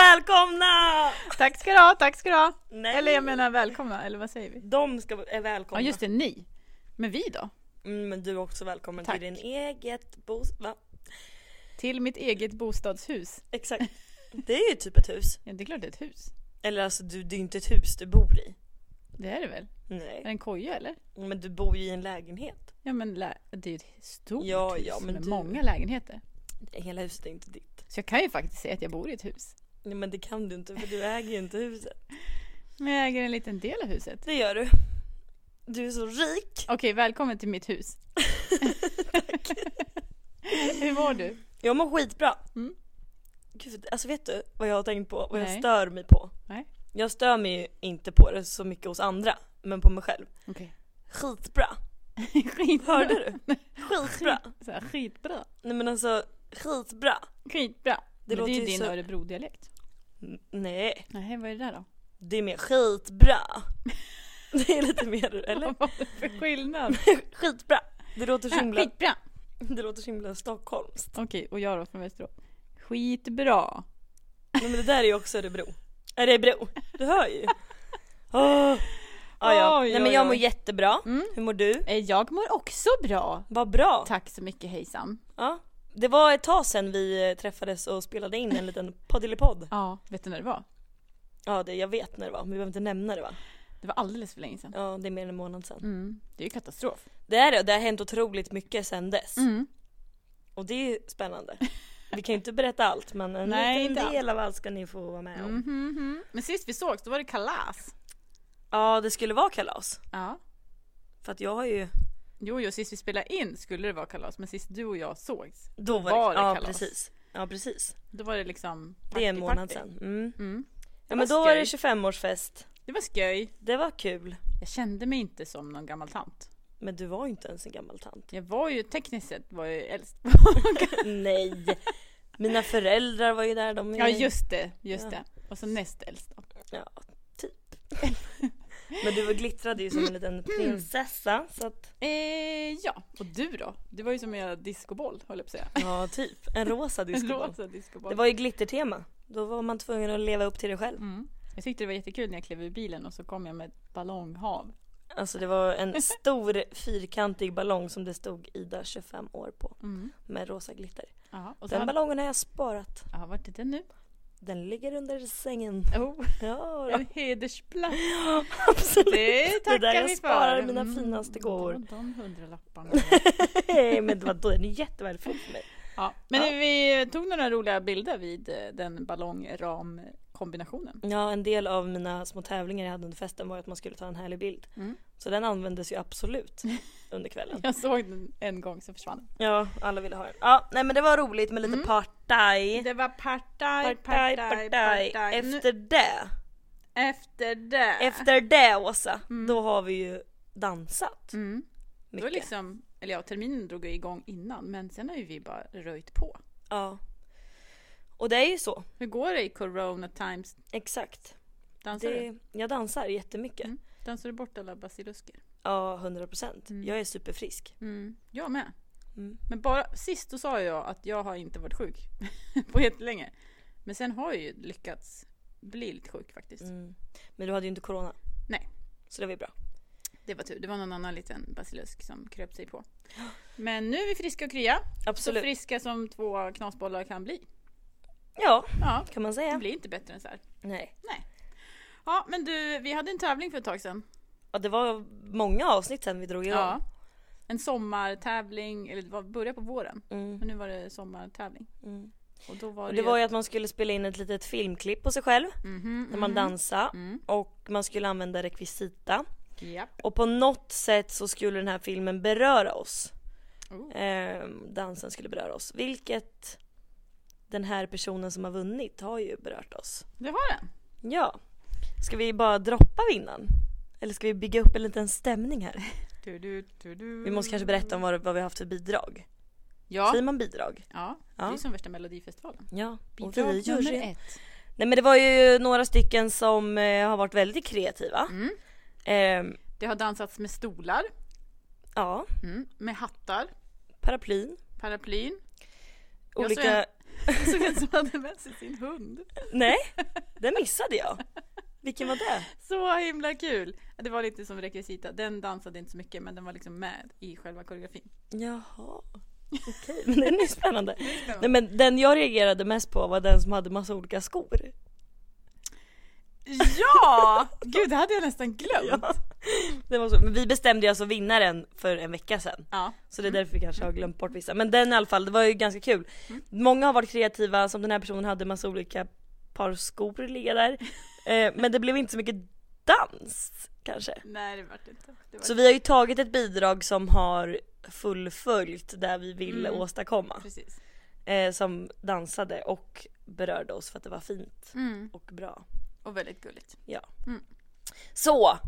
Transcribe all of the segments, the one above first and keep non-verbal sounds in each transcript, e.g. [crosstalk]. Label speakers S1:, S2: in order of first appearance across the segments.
S1: välkomna!
S2: Tack ska du ha, tack ska du ha.
S1: Nej.
S2: Eller jag menar välkomna, eller vad säger vi?
S1: De ska är välkomna.
S2: Ja just det, ni. Men vi då?
S1: Mm, men du är också välkommen
S2: Tack.
S1: till din eget bostad. Va?
S2: Till mitt eget bostadshus.
S1: Exakt. Det är ju typ ett hus.
S2: Ja, det är klart det är ett hus.
S1: Eller alltså du, det är ju inte ett hus du bor i.
S2: Det är det väl? Är det
S1: Nej.
S2: en koja eller?
S1: Men du bor ju i en lägenhet.
S2: Ja men lä- det är ju ett stort
S1: Ja,
S2: hus
S1: ja, men
S2: med
S1: du-
S2: många lägenheter.
S1: Hela huset är inte ditt.
S2: Så jag kan ju faktiskt säga att jag bor i ett hus.
S1: Nej men det kan du inte för du äger ju inte huset.
S2: Men jag äger en liten del av huset.
S1: Det gör du. Du är så rik.
S2: Okej, välkommen till mitt hus. [laughs] Hur mår du?
S1: Jag mår skitbra.
S2: Mm.
S1: Gud, alltså vet du vad jag har tänkt på? Vad jag
S2: Nej.
S1: stör mig på?
S2: Nej.
S1: Jag stör mig ju inte på det så mycket hos andra, men på mig själv.
S2: Okej.
S1: Skitbra.
S2: Skitbra.
S1: Hörde
S2: [laughs]
S1: du? Skitbra.
S2: Så här, skitbra.
S1: Nej men alltså, skitbra.
S2: Skitbra. Det, men
S1: låter
S2: det
S1: ju
S2: är ju din
S1: så-
S2: Örebro-dialekt.
S1: N- Nej,
S2: Nej, vad är det där då?
S1: det är mer
S2: [laughs]
S1: skitbra. Det är lite mer, eller?
S2: Vad var det för [laughs] skillnad?
S1: Skitbra. Det låter så
S2: Äh,
S1: himla,
S2: Skitbra!
S1: det låter så himla stockholmskt.
S2: Okej, och jag då från Västerås. Skitbra!
S1: Nej men det där är ju också Örebro. Örebro, du hör
S2: [laughs]
S1: ju. Oh. Ah, ja.
S2: Oj,
S1: Nej men
S2: oj,
S1: jag
S2: oj.
S1: mår jättebra.
S2: Mm.
S1: Hur mår du?
S2: Eh, Jag mår också bra.
S1: Vad bra.
S2: Tack så mycket hejsan.
S1: Ja. Det var ett tag sedan vi eh, träffades och spelade in en liten poddelipodd.
S2: Ja, vet du när det var?
S1: Ja, det, jag vet när det var, men vi behöver inte nämna det va?
S2: Det var alldeles för länge sedan.
S1: Ja, det är mer än en månad sedan.
S2: Mm. Det är ju katastrof.
S1: Det är det, och det har hänt otroligt mycket sedan dess.
S2: Mm.
S1: Och det är ju spännande. Vi kan ju inte berätta allt, men en
S2: Nej, inte
S1: liten del av allt ska ni få vara med om.
S2: Mhm. Men sist vi sågs, då var det kalas.
S1: Ja, det skulle vara kalas.
S2: Ja.
S1: För att jag har ju...
S2: Jo, jo, sist vi spelade in skulle det vara kalas, men sist du och jag sågs,
S1: Då var,
S2: var
S1: det,
S2: det
S1: ja,
S2: kalas.
S1: Precis. Ja, precis.
S2: då var det liksom
S1: Det är en
S2: party,
S1: månad
S2: party.
S1: sedan. Mm.
S2: Mm.
S1: Ja,
S2: var
S1: men då var det
S2: skoj.
S1: 25-årsfest.
S2: Det var skoj.
S1: Det var kul.
S2: Jag kände mig inte som någon gammal tant.
S1: Men du var ju inte ens en gammal tant. [laughs]
S2: Jag var ju tekniskt sett var jag ju äldst.
S1: Nej! Mina föräldrar var ju där, de är...
S2: Ja, just det, just
S1: Ja.
S2: det. Och så näst äldst då.
S1: Ja, typ. Men du var glittrade ju som en
S2: [clears throat]
S1: liten prinsessa så att...
S2: Eh, ja, och du då? Du var ju som en jävla discoboll, höll jag på att säga.
S1: Ja, typ. En rosa
S2: En
S1: [laughs] discoboll.
S2: rosa
S1: Det
S2: discoboll.
S1: var ju glittertema. Då var man tvungen att leva upp till det själv.
S2: Mm. Jag tyckte det var jättekul när jag klev ur bilen och så kom jag med ett ballonghav.
S1: Alltså det var
S2: [laughs]
S1: en stor fyrkantig ballong som det stod Ida 25 år på
S2: Mm.
S1: med rosa glitter.
S2: Ja, och så
S1: Den
S2: hade...
S1: ballongen har jag sparat.
S2: ja, vart är den nu?
S1: Den ligger under sängen.
S2: Oh,
S1: Ja, då.
S2: [laughs] en hedersplats.
S1: absolut.
S2: Det
S1: Det är
S2: tackar
S1: där jag
S2: vi för. Mm.
S1: sparar mina finaste gåvor.
S2: De, de
S1: [laughs]
S2: hundralapparna.
S1: [laughs] Nej, Men det var, då är den jättevärdefull för mig.
S2: ja. Men
S1: Ja.
S2: vi tog några roliga bilder vid eh, den ballongramkombinationen.
S1: Ja, en del av mina små tävlingar jag hade under festen var att man skulle ta en härlig bild.
S2: Mm.
S1: Så den användes ju absolut under kvällen.
S2: Jag såg den en gång så försvann den.
S1: Ja, alla ville ha den. Ja, nej men det var roligt med lite
S2: Mm.
S1: partaj.
S2: Det var partaj,
S1: Partaj, partaj.
S2: Nu,
S1: Efter det,
S2: efter det.
S1: efter det Åsa,
S2: Mm.
S1: då har vi ju dansat
S2: Mm. Det var
S1: mycket.
S2: liksom, eller ja, terminen drog ju igång innan men sen har ju vi bara röjt på.
S1: Ja. Och det är ju så,
S2: Hur går det i corona times?
S1: exakt.
S2: Dansar du?
S1: Det, jag dansar jättemycket.
S2: Mm. Dansar du bort alla basilusker?
S1: Ja, 100 procent.
S2: Mm.
S1: Jag är superfrisk.
S2: Mm. Jag med.
S1: Mm.
S2: Men bara sist då sa jag att jag har inte varit sjuk [laughs] på jättelänge. Men sen har jag ju lyckats bli lite sjuk faktiskt.
S1: Mm. Men du hade ju inte corona.
S2: Nej.
S1: Så det var ju bra.
S2: Det var tur, det var någon annan liten basilusk som kröp sig på. Men nu är vi friska och krya. Så
S1: Absolut.
S2: friska som två knasbollar kan bli.
S1: Ja,
S2: Ja,
S1: kan man
S2: det
S1: säga.
S2: blir inte bättre än så här.
S1: Nej.
S2: Ja, men du, vi hade en tävling för ett tag sedan.
S1: Ja, det var många avsnitt sen vi drog igång.
S2: Ja. En sommartävling, eller det var början på våren.
S1: Mm,
S2: Men nu var det sommartävling.
S1: mm.
S2: Och då var
S1: Och
S2: det,
S1: det var ju att man skulle spela in ett litet filmklipp på sig själv
S2: Mhm,
S1: när man
S2: mhm.
S1: dansade.
S2: Mm.
S1: Och man skulle använda rekvisita.
S2: Japp.
S1: Och på något sätt så skulle den här filmen beröra oss.
S2: Oh.
S1: Ehm, dansen skulle beröra oss. Vilket den här personen som har vunnit har ju berört oss.
S2: Det har den.
S1: Ja. Ska vi bara droppa vinnaren? Eller ska vi bygga upp en liten stämning här?
S2: Du, du, du, du.
S1: Vi måste kanske berätta om vad, vad vi har haft för bidrag.
S2: Ja,
S1: Säger man bidrag?
S2: ja. det är
S1: Ja.
S2: ju som värsta melodifestivalen.
S1: Ja. Och vi
S2: Bidrag nummer
S1: juryn.
S2: ett.
S1: Nej men det var ju några stycken som eh, har varit väldigt kreativa.
S2: Mm.
S1: Ehm,
S2: Det har dansats med stolar,
S1: ja,
S2: mm. med hattar,
S1: paraplyn,
S2: [laughs] paraplyn. Jag såg
S1: olika
S2: Det såg ut som han hade med sig sin hund.
S1: [laughs]
S2: [laughs]
S1: Nej, det missade jag. Vilken var det?
S2: Så himla kul! Det var lite som rekvisita. Den dansade inte så mycket men den var liksom med i själva koreografin. [laughs]
S1: Jaha. Okej, men den är spännande. Nej men den jag reagerade mest på var den som hade massa olika skor.
S2: Ja! Gud, det hade jag nästan glömt.
S1: Ja. [laughs] Det var så. Men vi bestämde ju alltså vinnaren för en vecka sedan.
S2: Ja.
S1: Så det är därför vi kanske
S2: Mm.
S1: har glömt bort vissa. Men den i alla fall, det var ju ganska kul. Många har varit kreativa, som den här personen hade massa olika par skor ligga
S2: [laughs]
S1: där. Eh, men det blev inte så mycket dans kanske.
S2: Nej, det vart inte. Det vart
S1: Så vi har ju tagit ett bidrag som har fullföljt det vi ville
S2: Mm.
S1: åstadkomma.
S2: Precis.
S1: Eh, som dansade och berörde oss för att det var fint
S2: Mm.
S1: och bra.
S2: Och väldigt gulligt.
S1: Så!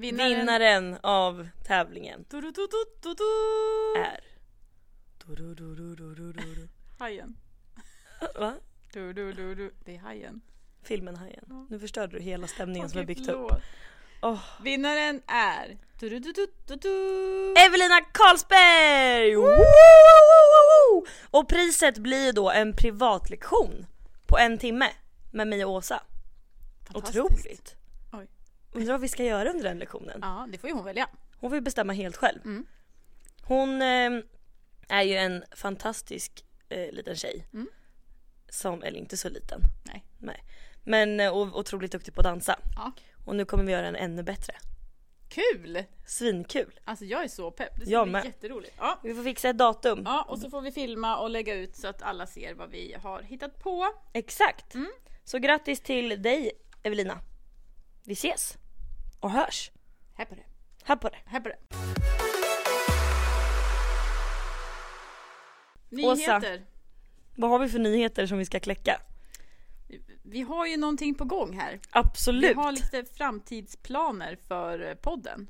S2: Vinnaren.
S1: Vinnaren av tävlingen
S2: Du, du, du, du, du, du.
S1: är... Du-du-du-du-du-du-du.
S2: Hajen.
S1: Va?
S2: Du, du, du, du. Det är hajen.
S1: Filmen Hajen.
S2: Ja.
S1: Nu förstörde du hela stämningen som
S2: Åh,
S1: jag
S2: gud,
S1: byggt upp.
S2: förlåt.
S1: Åh.
S2: Vinnaren är... Du, du, du, du, du, du.
S1: Evelina Karlsberg! Woo! Och priset blir ju då en privatlektion på en timme med mig och Åsa.
S2: Fantastiskt.
S1: Otroligt!
S2: Oj.
S1: Undrar vad vi ska göra under den lektionen.
S2: Ja, det får ju hon välja.
S1: Hon får ju bestämma helt själv.
S2: Mm.
S1: Hon eh, är ju en fantastisk eh, liten tjej.
S2: Mm.
S1: Som, eller inte så liten.
S2: Nej.
S1: Nej. Men eh, och, otroligt duktig på att dansa.
S2: Ja.
S1: Och nu kommer vi göra den ännu bättre.
S2: Kul!
S1: Svinkul!
S2: Alltså jag är så pepp. Det
S1: Jag
S2: ska bli
S1: med.
S2: jätteroligt. Ja.
S1: Vi får fixa ett datum.
S2: ja, och så får vi filma och lägga ut så att alla ser vad vi har hittat på.
S1: Exakt! Så grattis till dig Evelina. Vi ses! Och hörs!
S2: Här på det.
S1: Här på det.
S2: Här på det.
S1: Åsa.
S2: Nyheter.
S1: Vad har vi för nyheter som vi ska kläcka?
S2: Vi har ju någonting på gång här. Vi
S1: Absolut!
S2: har lite framtidsplaner för eh, podden.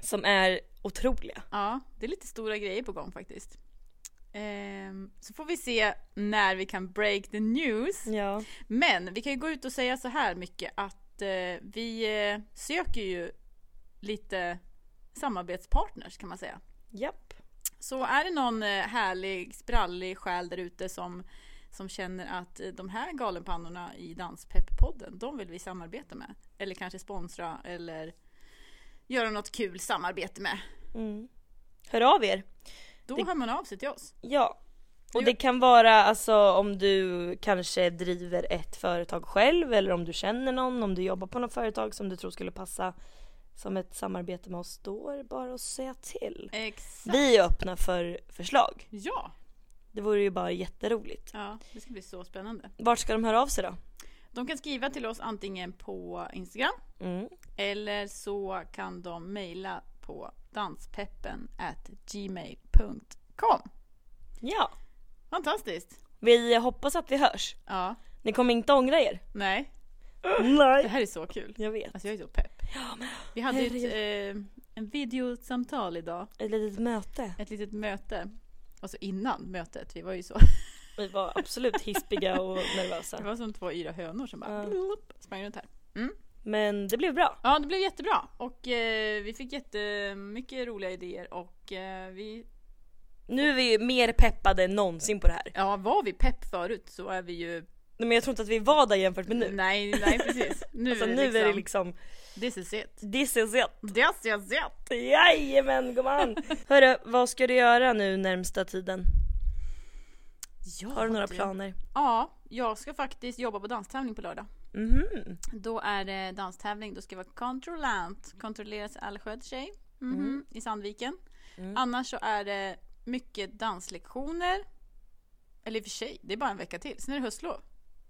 S1: Som är otroliga.
S2: Ja, det är lite stora grejer på gång faktiskt. Ehm, så får vi se när vi kan break the news.
S1: Ja.
S2: Men vi kan ju gå ut och säga så här mycket att eh, vi eh, söker ju lite samarbetspartners kan man säga.
S1: Japp.
S2: Så är det någon eh, härlig, sprallig själ där ute som, som känner att eh, de här galenpannorna i Danspepp-podden, de vill vi samarbeta med. Eller kanske sponsra eller göra något kul samarbete med.
S1: Mm. Hör av er!
S2: Då
S1: Det-
S2: hör man av sig till oss.
S1: Ja. Och
S2: Jo.
S1: det kan vara alltså om du kanske driver ett företag själv eller om du känner någon, om du jobbar på något företag som du tror skulle passa som ett samarbete med oss. Då är det bara att säga till.
S2: Exakt.
S1: Vi är öppna för förslag.
S2: Ja.
S1: Det vore ju bara jätteroligt.
S2: ja, det ska bli så spännande.
S1: Vart ska de höra av sig då?
S2: De kan skriva till oss antingen på Instagram
S1: Mm.
S2: Eller så kan de mejla på danspeppen gmail.com
S1: Ja,
S2: Fantastiskt!
S1: vi hoppas att vi hörs.
S2: Ja,
S1: Ni kommer inte ångra er.
S2: nej, det
S1: Nej.
S2: här är så kul.
S1: Jag vet.
S2: Alltså jag är så pepp. Vi hade ju ett eh, en videosamtal idag,
S1: Ett litet möte.
S2: ett litet möte. Alltså innan mötet, vi var ju så. [laughs]
S1: Vi var absolut hispiga och
S2: Det
S1: nervösa.
S2: var som två yra hönor som bara
S1: Ja.
S2: blup, sprang runt här.
S1: Men det blev bra.
S2: Ja, det blev jättebra och eh, vi fick jättemycket roliga idéer och eh, vi,
S1: Nu är vi ju mer peppade än någonsin på det här.
S2: ja var vi pepp förut så är vi ju
S1: Nej men jag tror inte att vi var där jämfört med nu.
S2: Nej, nej
S1: [laughs]
S2: precis. Nu,
S1: alltså
S2: är, det
S1: Mm. nu
S2: liksom,
S1: är det liksom
S2: This is it.
S1: this is it.
S2: This is it.
S1: Jajamän gumman! Hörru, vad ska du göra nu närmsta tiden?
S2: Ja,
S1: Har du några
S2: det-
S1: planer?
S2: Ja, jag ska faktiskt jobba på danstävling på lördag.
S1: Mhm.
S2: Då är det danstävling, då ska jag vara kontrollant. Kontrolleras allsköt tjej. Mhm, I Sandviken.
S1: Mm.
S2: Annars så är det mycket danslektioner. Eller i och för sig, det är bara en vecka till. Sen är det höstlov.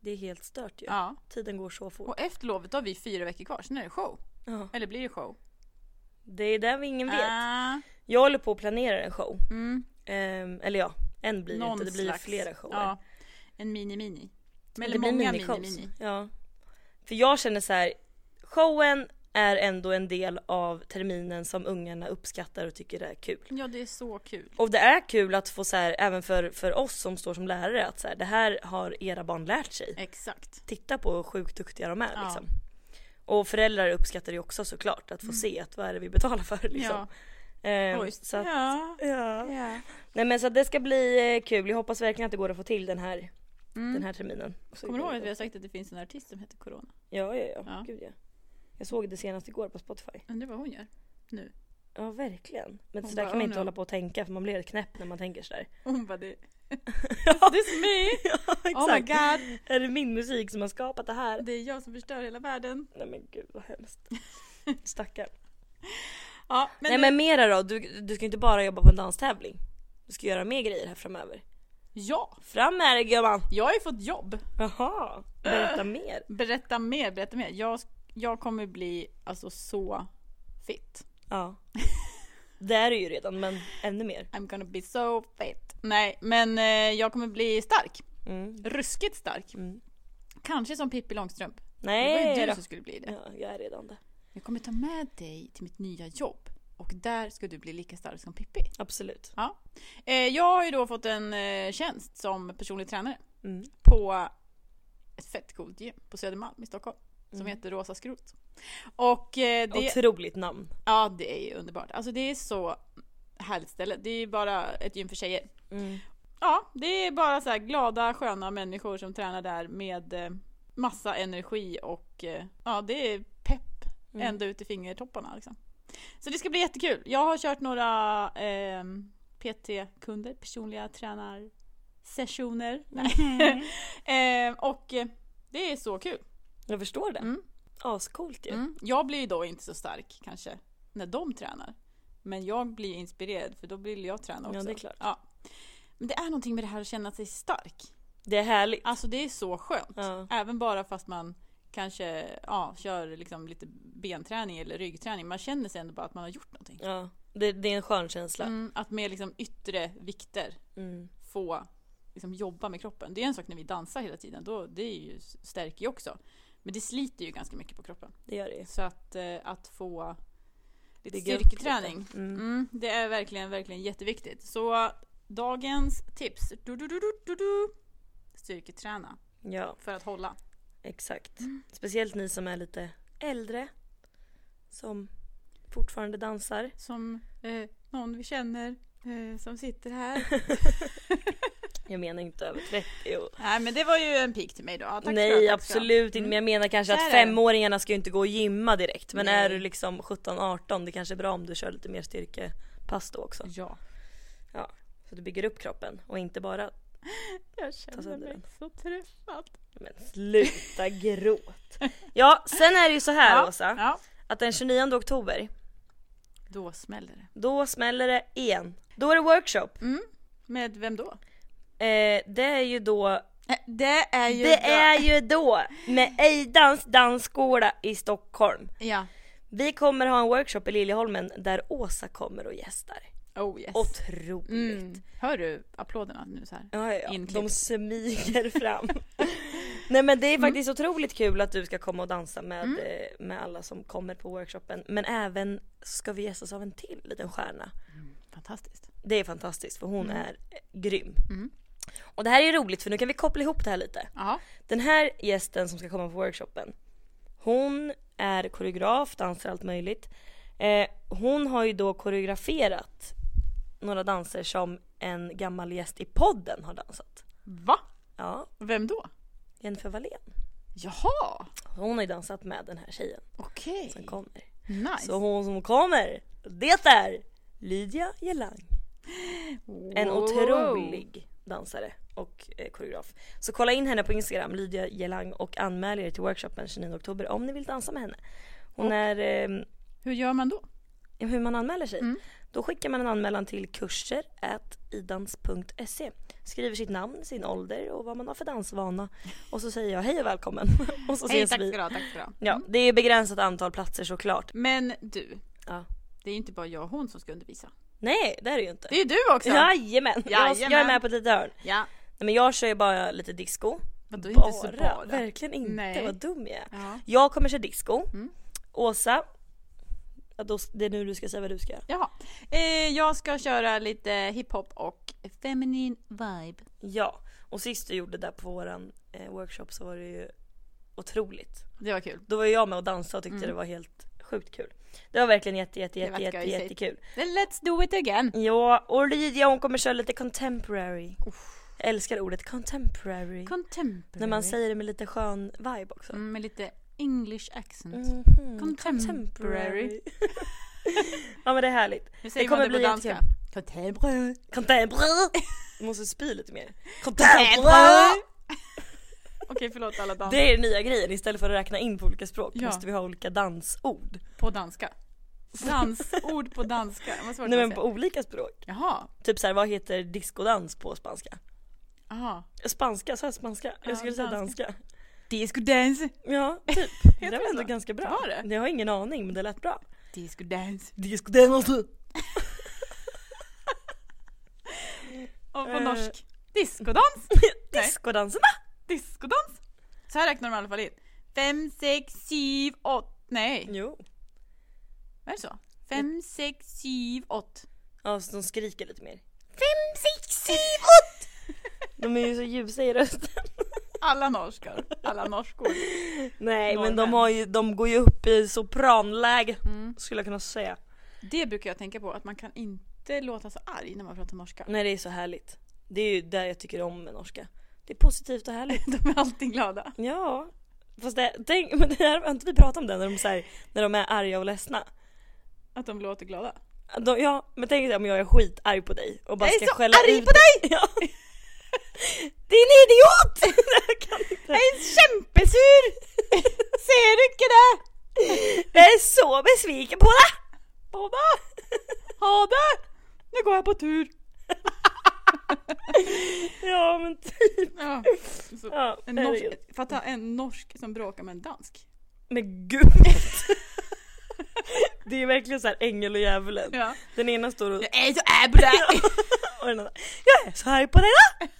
S1: Det är helt stört ju.
S2: Ja.
S1: Tiden går så fort.
S2: Och efter lovet då har vi fyra veckor kvar. Sen är det show.
S1: Ja.
S2: Eller blir det show?
S1: Det är där vi ingen vet.
S2: Ah,
S1: Jag håller på att planera en show.
S2: mm,
S1: Ehm, eller ja, en blir det
S2: någon
S1: inte. Det blir ju
S2: slags-
S1: flera shower.
S2: Ja, en mini-mini. Men
S1: Men
S2: eller många mini-mini.
S1: minishows. Ja. För jag känner så här, showen är ändå en del av terminen som ungarna uppskattar och tycker är kul.
S2: Ja, det är så kul.
S1: Och det är kul att få så här, även för, för oss som står som lärare, att så här, det här har era barn lärt sig.
S2: Exakt.
S1: Titta på hur sjukt duktiga de är
S2: Ja.
S1: liksom. Och föräldrar uppskattar det också såklart,
S2: Mm.
S1: att få se att vad är det vi betalar för liksom. Ehm,
S2: Ja,
S1: så att,
S2: ja.
S1: ja. Nej men så att det ska bli eh, kul, jag hoppas verkligen att det går att få till den här den
S2: Mm.
S1: här terminen. Så
S2: Kommer du ihåg
S1: gjorde
S2: att vi
S1: jag
S2: har sagt att det finns en artist som heter Corona?
S1: det. Ja, ja, ja.
S2: Ja.
S1: Gud ja. Jag såg det senast igår på Spotify.
S2: Undrar vad hon gör?
S1: Ja, verkligen. Men
S2: Hon
S1: sådär
S2: bara,
S1: kan man
S2: "Oh,
S1: inte
S2: no."
S1: hålla på och tänka för man blir helt knäpp när man tänker
S2: [laughs]
S1: sådär.
S2: Hon bara det.
S1: [laughs] Ja,
S2: This is me! Oh my
S1: exakt.
S2: god!
S1: Är det min musik som har skapat det här?
S2: Det är jag som förstör hela världen.
S1: Nej men gud vad
S2: [laughs]
S1: hemskt. Stackarn.
S2: Ja, men,
S1: Nej
S2: du-
S1: men mera då, du, du ska inte bara jobba på en danstävling. Du ska göra mer grejer här framöver.
S2: Ja!
S1: Fram med dig gumman!
S2: Jag har ju fått jobb.
S1: Jaha,
S2: [laughs]
S1: berätta mer.
S2: Berätta mer, berätta mer. Jag, jag kommer bli alltså så fit.
S1: Ja. Det är du ju redan men ännu mer.
S2: I'm gonna be so fit. Nej, men eh, jag kommer bli stark.
S1: Mm.
S2: Ruskigt stark.
S1: Mm.
S2: Kanske som Pippi Långstrump. det var ju
S1: Nej
S2: du
S1: då.
S2: som skulle bli det.
S1: Ja, jag är redan det.
S2: Jag kommer ta med dig till mitt nya jobb. Och där ska du bli lika stark som Pippi.
S1: Absolut.
S2: Eh, jag har ju då fått en eh, tjänst som personlig tränare
S1: Mm.
S2: på ett fett coolt gym på Södermalm i Stockholm. Som
S1: Mm.
S2: heter Rosa Skrot. Och eh, det...
S1: Otroligt namn.
S2: Ja, det är ju underbart. Alltså det är så härligt ställe. Det är ju bara ett gym för tjejer.
S1: Mm.
S2: Ja, det är bara så här glada, sköna människor som tränar där med eh, massa energi och eh, ja, det är pepp
S1: Mm.
S2: ända ut i fingertopparna liksom. Så det ska bli jättekul. Jag har kört några eh, PT-kunder, personliga tränarsessioner. Nej.
S1: Mm.
S2: [laughs] eh, och eh, det är så kul.
S1: Jag förstår det.
S2: Mm.
S1: Ascoolt ju.
S2: Mm. Jag blir ju då inte så stark kanske när de tränar. Men jag blir inspirerad för då vill jag träna också.
S1: Ja, det är klart.
S2: Ja. Men det är någonting med det här att känna sig stark.
S1: Det är härligt.
S2: Alltså det är så skönt.
S1: Ja.
S2: Även bara fast man kanske ja, kör liksom lite benträning eller ryggträning. Man känner sig ändå bara att man har gjort någonting.
S1: Ja. Det, det är en skön känsla.
S2: Mm, att med liksom yttre vikter
S1: Mm.
S2: få liksom jobba med kroppen. Det är en sak när vi dansar hela tiden. Då, det är ju, stärker ju också. Men det sliter ju ganska mycket på kroppen.
S1: Det gör det ju.
S2: Så att, eh, att få lite
S1: Bygga upp
S2: styrketräning.
S1: lite. Mm.
S2: Mm, det är verkligen, verkligen jätteviktigt. Så dagens tips. Du, du, du, du, du, du. Styrketräna
S1: Ja,
S2: för att hålla.
S1: exakt. Speciellt ni som är lite äldre. Som fortfarande dansar.
S2: Som eh, någon vi känner eh, som sitter här.
S1: Jag menar inte över 30 och...
S2: [laughs] Nej men det var ju en pik till mig då. Ja, tack
S1: Nej
S2: ska du ha, tack ska du ha.
S1: absolut inte men jag menar kanske
S2: Så
S1: att
S2: är det.
S1: femåringarna ska ju inte gå och gymma direkt men
S2: Nej.
S1: är du liksom 17-18 det kanske är bra om du kör lite mer styrkepass då också.
S2: Ja.
S1: Så du bygger upp kroppen och inte bara Ta
S2: Jag känner
S1: sönder
S2: mig
S1: den.
S2: så träffad.
S1: men sluta [laughs] gråt. Ja sen är det ju så här
S2: ja,
S1: Åsa
S2: Ja.
S1: att den 29 oktober
S2: Då smäller det.
S1: då smäller det igen. Då är det workshop.
S2: Med vem då?
S1: Eh, det är ju då
S2: Eh, Det är ju...
S1: Det
S2: då-
S1: är ju då med Eidans dansskola i Stockholm.
S2: Ja.
S1: Vi kommer ha en workshop i Liljeholmen där Åsa kommer och gästar.
S2: Oh yes.
S1: Otroligt.
S2: Mm. Hör du applåderna nu så här?
S1: Ja, ja, ja.
S2: Inklippt.
S1: De smyger fram. Nej men det är faktiskt otroligt kul att du ska komma och dansa med, eh, med alla som kommer på workshopen. Men även ska vi gästas av en till liten stjärna.
S2: Fantastiskt.
S1: Det är fantastiskt för hon är eh, grym.
S2: Mm.
S1: Och det här är ju roligt för nu kan vi koppla ihop det här lite.
S2: Ja.
S1: Den här gästen som ska komma på workshopen, hon är koreograf, dansar allt möjligt. Eh, hon har ju då koreograferat några danser som en gammal gäst i podden har dansat.
S2: Va?
S1: Ja,
S2: Vem då?
S1: Jennifer Wallén.
S2: Jaha!
S1: Hon har ju dansat med den här tjejen
S2: Okej.
S1: som kommer.
S2: Nice.
S1: Så hon som kommer, det är Lydia Jelang. En
S2: Wow.
S1: otrolig dansare och eh, koreograf. Så kolla in henne på Instagram, Lydia Jelang och anmäl er till workshopen 29 oktober om ni vill dansa med henne. Hon är, eh,
S2: Hur gör man då?
S1: hur man anmäler sig.
S2: Mm.
S1: Då skickar man en anmälan till kurser idans.se. Skriver sitt namn, sin ålder och vad man har för dansvana. Och så säger jag hej och välkommen. [laughs] och så ses vi.
S2: ha, tack ska du ha.
S1: Ja, det är begränsat antal platser såklart.
S2: Men du.
S1: Ja.
S2: Det är ju inte bara jag och hon som ska undervisa.
S1: Nej, det är det ju inte.
S2: Det är ju du också!
S1: Jajamän! Jag, jag är
S2: Jajamän.
S1: med på ett litet hörn.
S2: ja.
S1: Nej, men jag kör ju bara lite disco.
S2: Vadå inte så bara?
S1: Verkligen inte,
S2: Nej.
S1: vad dum jag är.
S2: Ja.
S1: Jag kommer köra disco.
S2: Mm.
S1: Åsa, ja, då, det är nu du ska säga vad du ska göra.
S2: Jaha. Eh, jag ska köra lite hiphop och feminin vibe.
S1: Ja, och sist du gjorde det där på våran eh, workshop så var det ju otroligt.
S2: Det var kul.
S1: Då var ju jag med och dansade och tyckte det var helt sjukt kul. Det var verkligen jätte, jätte,
S2: Mm. Det
S1: jätte,
S2: var
S1: jätte,
S2: skojsigt.
S1: jättekul.
S2: Then let's do it again!
S1: Ja, och Lydia hon kommer köra lite contemporary. Jag älskar ordet contemporary.
S2: Contemporary.
S1: När man säger det med lite skön vibe också.
S2: Mm, med lite English accent.
S1: Mhm.
S2: Contemporary.
S1: [laughs] ja men det är härligt.
S2: Hur säger
S1: Det kommer
S2: man det
S1: bli
S2: på danska?
S1: jättekul.
S2: Contemporary.
S1: Contemporary. Jag måste spy lite mer. [laughs] Contemporary.
S2: Okej, förlåt alla dans.
S1: Det är den nya grejen, istället för att räkna in på olika språk
S2: Ja.
S1: måste vi ha olika dansord.
S2: På danska. Dansord på danska. Vad svårt
S1: Nej
S2: att
S1: men
S2: säga.
S1: på olika språk.
S2: Jaha.
S1: Typ såhär, vad heter discodans på spanska?
S2: Aha.
S1: Spanska, sa jag spanska?
S2: Ja,
S1: Jag skulle säga
S2: danska.
S1: danska.
S2: Disco dance.
S1: Ja, [laughs] typ. det
S2: det
S1: var ändå
S2: så?
S1: ganska bra.
S2: Var det?
S1: Jag har ingen aning men det lät bra.
S2: Disco dance.
S1: Discodans.
S2: Och på
S1: Eh.
S2: norsk. Diskodans.
S1: Discodanserna!
S2: Diskodans. Så här räknar de i alla fall in. Fem, sex, sju, åtta. Nej,
S1: Jo.
S2: vad är det så? Fem, sex, sju, åtta.
S1: Ja, så de skriker lite mer.
S2: Fem, sex, sju,
S1: De är ju så ljusa i rösten.
S2: Alla norskar. Alla norskor.
S1: [laughs] Nej men de,
S2: Norrmän.
S1: har ju, de går ju upp i sopranläge skulle jag kunna säga.
S2: Det brukar jag tänka på, att man kan inte låta så arg när man pratar norska.
S1: Nej det är så härligt. Det är ju där jag tycker om med norska. Det är positivt och [laughs] härligt.
S2: De är alltid glada.
S1: Ja. Fast det, tänk, [laughs] men det här, har inte vi pratat om det när de, så här, när de är arga och ledsna?
S2: Att de låter glada.
S1: De, ja men tänk dig om jag är skitarg på dig och bara
S2: Jag är
S1: ska
S2: så
S1: skälla
S2: arg
S1: ut
S2: på
S1: dig! [laughs] Ja. Din idiot! jag kan inte.
S2: Jag är kämpesur! Ser du inte det?
S1: [laughs] Jag är så besviken på dig!
S2: Båda! Ha det! Nu går jag på tur.
S1: Ja men typ.
S2: Ja. Så.
S1: Ja,
S2: En norsk,
S1: herregud.
S2: fatta en norsk som bråkar med en dansk.
S1: Men gud! [laughs] det är verkligen så här ängel och djävulen.
S2: Ja.
S1: Den ena står och,
S2: är så arg på dig!
S1: och den andra Jag är så arg på dig då!
S2: [laughs]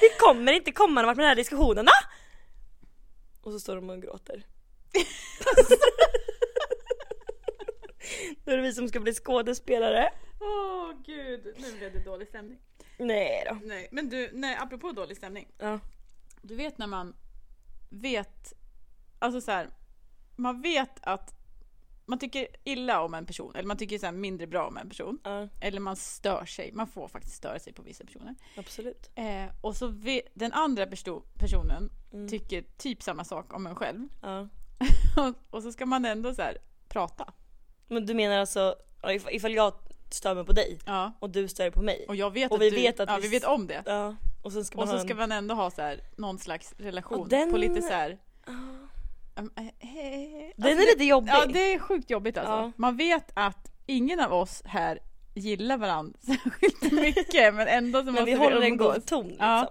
S1: Vi kommer inte komma någon vart med den här diskussionen då! Och så står de och
S2: [laughs]
S1: gråter. Då är det vi som ska bli skådespelare.
S2: Åh gud, nu blev det dålig stämning.
S1: Nej då.
S2: Nej, men du, nej, apropå dålig stämning.
S1: Ja.
S2: Du vet när man vet, alltså så här, man vet att man tycker illa om en person, eller man tycker så här mindre bra om en person.
S1: ja,
S2: Eller man stör sig, man får faktiskt störa sig på vissa personer.
S1: absolut.
S2: Eh, och så ve- den andra perso- personen
S1: Mm.
S2: tycker typ samma sak om en själv. [laughs]
S1: Ja.
S2: och så ska man ändå så här prata.
S1: Men du menar alltså ja, if- ifall jag stör mig på dig
S2: Ja.
S1: och du stör dig på mig.
S2: Och jag vet
S1: Och
S2: att
S1: vi
S2: du,
S1: vet att
S2: ja,
S1: vi-
S2: vi vet om det.
S1: Ja. Och sen ska man
S2: Och så
S1: ha
S2: ska
S1: en...
S2: man ändå ha så här, någon slags relation
S1: Och den-
S2: på lite så här. Um, eh, eh,
S1: Den
S2: alltså
S1: är
S2: det-
S1: lite jobbig.
S2: Ja, det är sjukt jobbigt alltså.
S1: Ja.
S2: Man vet att ingen av oss här gillar varandra [laughs] särskilt mycket men ändå så
S1: Men
S2: måste
S1: vi håller en
S2: umgås.
S1: god ton liksom.
S2: Ja.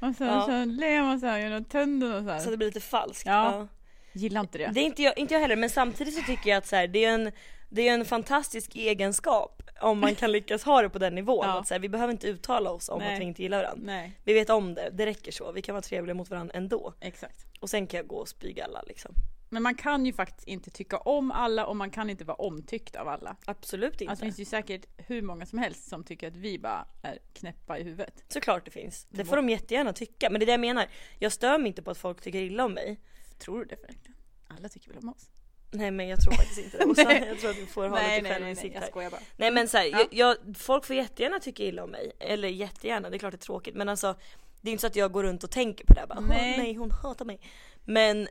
S2: Man så,
S1: Ja.
S2: så ler man så här genom tänderna och så här.
S1: Så det blir lite falskt.
S2: Ja. Gillar inte det.
S1: Det är inte jag, inte jag heller men samtidigt så tycker jag att så här, det är en det är en fantastisk egenskap om man kan lyckas ha det på den nivån.
S2: [laughs] Ja.
S1: Att så här, vi behöver inte uttala oss om
S2: Nej.
S1: att vi inte gillar varandra.
S2: Nej,
S1: Vi vet om det, det räcker så. Vi kan vara trevliga mot varandra ändå.
S2: exakt.
S1: Och sen kan jag gå och spyga alla liksom.
S2: Men man kan ju faktiskt inte tycka om alla och man kan inte vara omtyckt av alla.
S1: Absolut inte.
S2: Alltså, det finns ju säkert hur många som helst som tycker att vi bara är knäppa i huvudet.
S1: Såklart det finns.
S2: Mm.
S1: Det får de jättegärna tycka. Men det är det jag menar. Jag stör mig inte på att folk tycker illa om mig.
S2: Tror du det verkligen? Alla tycker väl om oss?
S1: Nej men jag tror faktiskt inte det. Och sen,
S2: [laughs] Nej.
S1: jag tror att vi får ha lite självinsikt här.
S2: skojar bara.
S1: Nej men såhär,
S2: Ja.
S1: jag, jag, folk får jättegärna tycka illa om mig. Eller jättegärna, det är klart det är tråkigt. Men alltså det är inte så att jag går runt och tänker på det här bara, nej.
S2: Nej.
S1: nej hon hatar mig. Men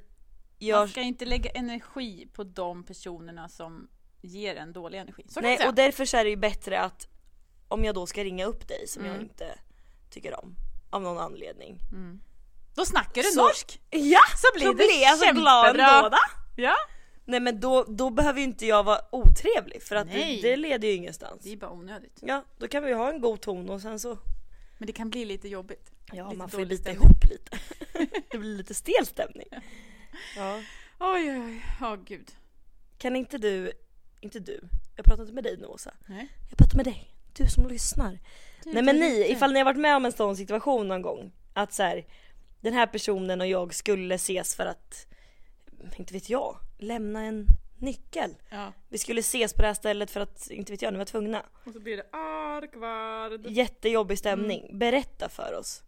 S1: jag,
S2: Man ska inte lägga energi på de personerna som ger en dålig energi. Så kan man
S1: nej
S2: säga.
S1: och därför så är det ju bättre att om jag då ska ringa upp dig som
S2: Mm.
S1: jag inte tycker om. Av någon anledning.
S2: Då snackar du
S1: Så-
S2: norsk!
S1: Ja!
S2: Så blir
S1: Då
S2: det
S1: blir jag så glad
S2: kämpebra.
S1: ändå va?
S2: Ja.
S1: Nej men då, då behöver ju inte jag vara otrevlig för att det,
S2: Nej.
S1: det leder ju ingenstans.
S2: Det är bara onödigt.
S1: Ja, då kan vi ju ha en god ton och sen så
S2: Men det kan bli lite jobbigt.
S1: Ja,
S2: Lite
S1: man får ju
S2: dålig
S1: bita
S2: stämning.
S1: ihop
S2: [laughs]
S1: lite. det blir lite stel stämning. Ja.
S2: Oj, oj, oj. Ja, gud.
S1: Kan inte du, inte du, jag pratar inte med dig nu Åsa.
S2: Nej. Mm,
S1: Jag pratar med dig, du som lyssnar. Nej men ni, ifall ni har varit med om en sån situation någon gång. Att så här, den här personen och jag skulle ses för att, inte vet jag, lämna en nyckel.
S2: Ja.
S1: Vi skulle ses på det här stället för att, inte vet jag, ni var tvungna.
S2: Och så blir det arkvard.
S1: Jättejobbig stämning.
S2: Mm.
S1: Berätta för oss.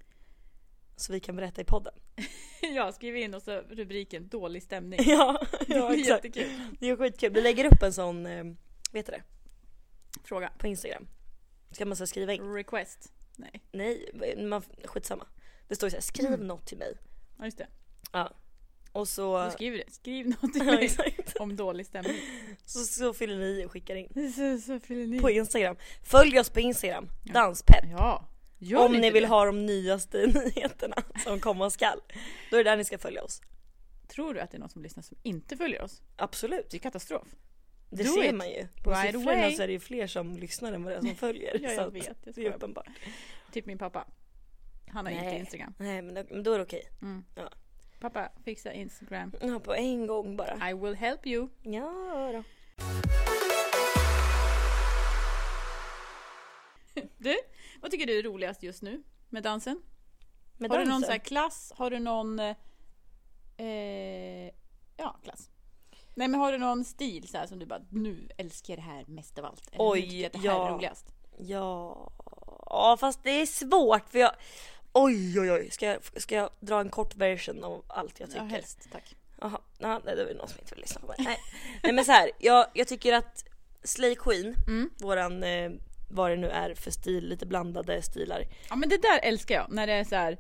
S1: Så vi kan berätta i podden.
S2: [laughs] Ja, skriv in och så rubriken dålig stämning. [laughs]
S1: Ja, ja
S2: det är
S1: exakt.
S2: jättekul.
S1: Det är skitkul. Vi lägger upp en sån, eh, vet du det,
S2: Fråga.
S1: på Instagram. Ska man så här skriva
S2: Mm.
S1: in?
S2: Request? Nej,
S1: Nej, man, skitsamma. Det står ju såhär, skriv
S2: Mm.
S1: något till mig.
S2: ja just det.
S1: Ja. Och så...
S2: Du [laughs] skriver det. Skriv något till
S1: Ja,
S2: mig
S1: exakt.
S2: om dålig stämning.
S1: så, så fyller ni i och skickar in.
S2: [laughs] Så, så fyller ni.
S1: På Instagram. Följ oss på Instagram, danspepp.
S2: Mm. Ja, gör
S1: om ni
S2: inte
S1: vill
S2: det.
S1: ha de nyaste [laughs] nyheterna som komma skall. Då är det där ni ska följa oss.
S2: Tror du att det är någon som lyssnar som inte följer oss?
S1: Absolut.
S2: Det är katastrof.
S1: Det
S2: Do
S1: ser
S2: it.
S1: man ju. På
S2: Right
S1: siffrorna
S2: away.
S1: så är det ju fler som lyssnar än vad det [laughs] är som följer.
S2: [laughs] Ja,
S1: så
S2: jag
S1: att
S2: vet. Jag
S1: det är
S2: skojar. bara.
S1: uppenbart.
S2: Typ min pappa. Han har inte
S1: Nej.
S2: Instagram. Mm.
S1: Nej men då, men då är det okej.
S2: Pappa, fixa Instagram.
S1: Ja, på en gång bara.
S2: I will help you.
S1: Ja då.
S2: Du, vad tycker du är roligast just nu med dansen?
S1: Med
S2: har du någon
S1: dansen.
S2: så här klass? Har du någon... Eh, ja, klass. Nej men har du någon stil så här som du bara nu älskar jag det här mest av allt? Eller,
S1: Oj,
S2: nu tycker jag att det här
S1: ja.
S2: är roligast.
S1: Ja. ja, fast det är svårt för jag... Oj oj oj, ska jag, ska jag dra en kort version av allt jag
S2: Ja,
S1: tycker?
S2: helst. Tack.
S1: Jaha, ja, nej det var ju någon som inte ville lyssna på mig. Nej, nej men så här, jag, jag tycker att Slay Queen,
S2: Mm.
S1: våran, eh, vad det nu är för stil, lite blandade stilar.
S2: Ja men det där älskar jag, när det är så här.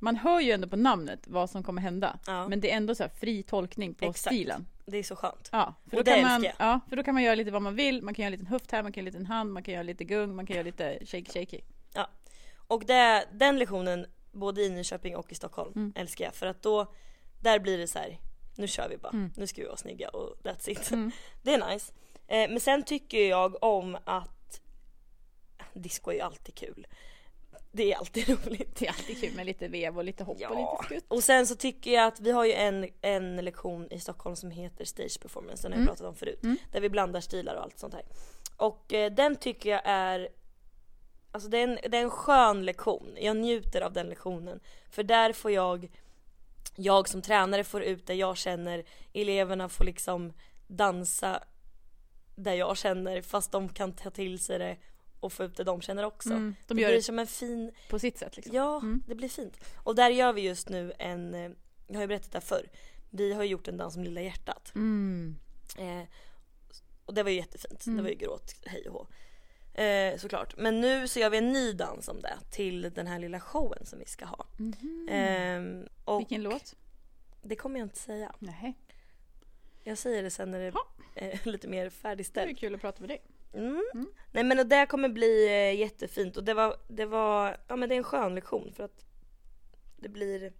S2: Man hör ju ändå på namnet vad som kommer hända.
S1: Ja.
S2: Men det är ändå så här fri tolkning på
S1: Exakt.
S2: stilen.
S1: Det är så skönt.
S2: Ja, för
S1: Och
S2: då
S1: det
S2: kan man,
S1: älskar
S2: ja, för då kan man göra lite vad man vill. Man kan göra en liten höft här, man kan göra en liten hand, man kan göra lite gung, man kan göra lite shake shaky.
S1: Ja. Och det, den lektionen, både i Nyköping och i Stockholm,
S2: Mm.
S1: älskar jag. För att då, där blir det så här, nu kör vi bara.
S2: Mm.
S1: Nu ska vi vara snygga och that's it. Det är nice. Eh, men sen tycker jag om att, disco är ju alltid kul. Det är alltid [laughs] roligt.
S2: [laughs] Det är alltid kul med lite vev och lite hopp och lite skutt.
S1: Och sen så tycker jag att vi har ju en, en lektion i Stockholm som heter Stage Performance, den har jag
S2: Mm.
S1: pratat om förut. Där vi blandar stilar och allt sånt här. Och eh, den tycker jag är Alltså det är, en, det är en skön lektion, jag njuter av den lektionen. För där får jag, jag som tränare får ut det jag känner, eleverna får liksom dansa där jag känner fast de kan ta till sig det och få ut det de känner också.
S2: Mm, de
S1: det
S2: gör
S1: blir
S2: det-
S1: som en fin
S2: På sitt sätt liksom.
S1: Ja, det blir fint. Och där gör vi just nu en, eh, jag har ju berättat det här förr, vi har ju gjort en dans om Lilla hjärtat.
S2: Mm.
S1: Eh, och det var ju jättefint, det var ju gråt hej och hå. Eh, såklart. Men nu så gör vi en ny dans om det till den här lilla showen som vi ska ha. Eh, och
S2: Mm. Mhm. Vilken låt?
S1: det kommer jag inte säga.
S2: Nej.
S1: Jag säger det sen när det
S2: Ja.
S1: är [laughs] lite mer
S2: Det
S1: färdigställt.
S2: är kul att prata med dig.
S1: Mm. Nej men och det kommer bli eh, jättefint och det var, det var, ja men det är en skön lektion för att det blir,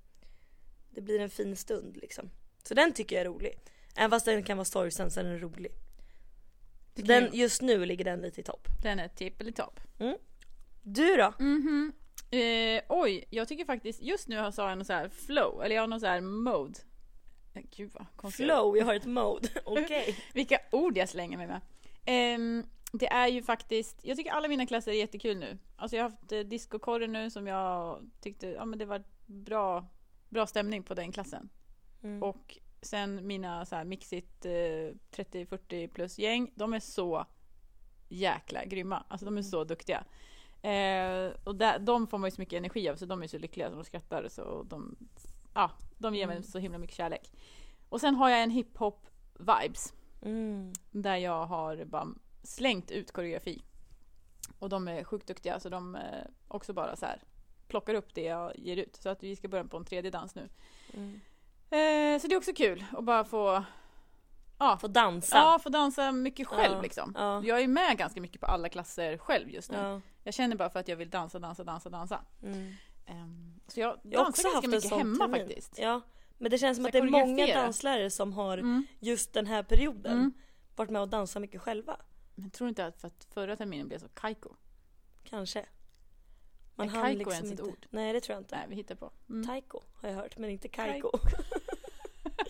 S1: det blir en fin stund liksom. Så den tycker jag är rolig. Även fast den kan vara sorgsen så är den rolig.
S2: Det kan
S1: Den,
S2: jag-
S1: just nu ligger den lite i topp.
S2: Den är typ tippelitopp.
S1: Du då?
S2: Mhm. Eh, oj, jag tycker faktiskt just nu har så har jag någon så här flow, eller jag har någon så här mode. Eh, Gud vad konstigt.
S1: Flow, jag har ett
S2: [laughs]
S1: mode. Okej.
S2: Vilka ord jag slänger mig med. Ehm, det är ju faktiskt, jag tycker alla mina klasser är jättekul nu. Alltså jag har haft eh, discokorren nu som jag tyckte, ja men det var bra, bra stämning på den klassen.
S1: Mm.
S2: Och sen mina så här mixit eh, 30-40 plus gäng, de är så jäkla grymma. Alltså de är så duktiga. Eh, och där, de får man ju så mycket energi av så de är så lyckliga så de skrattar så och de, ja, de ger mig så himla mycket kärlek. Och sen har jag en hiphop-vibes
S1: Mm.
S2: där jag har bara slängt ut koreografi. Och de är sjukt duktiga så de eh, också bara så här plockar upp det jag ger ut. Så att vi ska börja på en tredje dans nu.
S1: Mm.
S2: Eh, så det är också kul att bara få,
S1: Få dansa.
S2: ja, få dansa mycket själv
S1: Ja,
S2: liksom.
S1: ja.
S2: Jag är med ganska mycket på alla klasser själv just nu.
S1: Ja.
S2: Jag känner bara för att jag vill dansa, dansa, dansa, dansa.
S1: Mm.
S2: Ehm, så jag dansar
S1: Jag har också haft
S2: ganska
S1: en
S2: mycket
S1: sån
S2: hemma
S1: termin.
S2: faktiskt.
S1: Ja. Men det känns som
S2: Så
S1: att det är många
S2: koreografera.
S1: danslärare som har
S2: Mm.
S1: just den här perioden
S2: Mm.
S1: varit med och dansat mycket själva.
S2: Men tror du inte att, för att förra terminen blev så kaiko?
S1: Kanske.
S2: Är
S1: hann
S2: kaiko ens ett ord?
S1: Nej det tror jag inte.
S2: Nej, vi hittar på. Mm.
S1: Taiko har jag hört men inte
S2: Kaiko.
S1: kaiko.
S2: [laughs]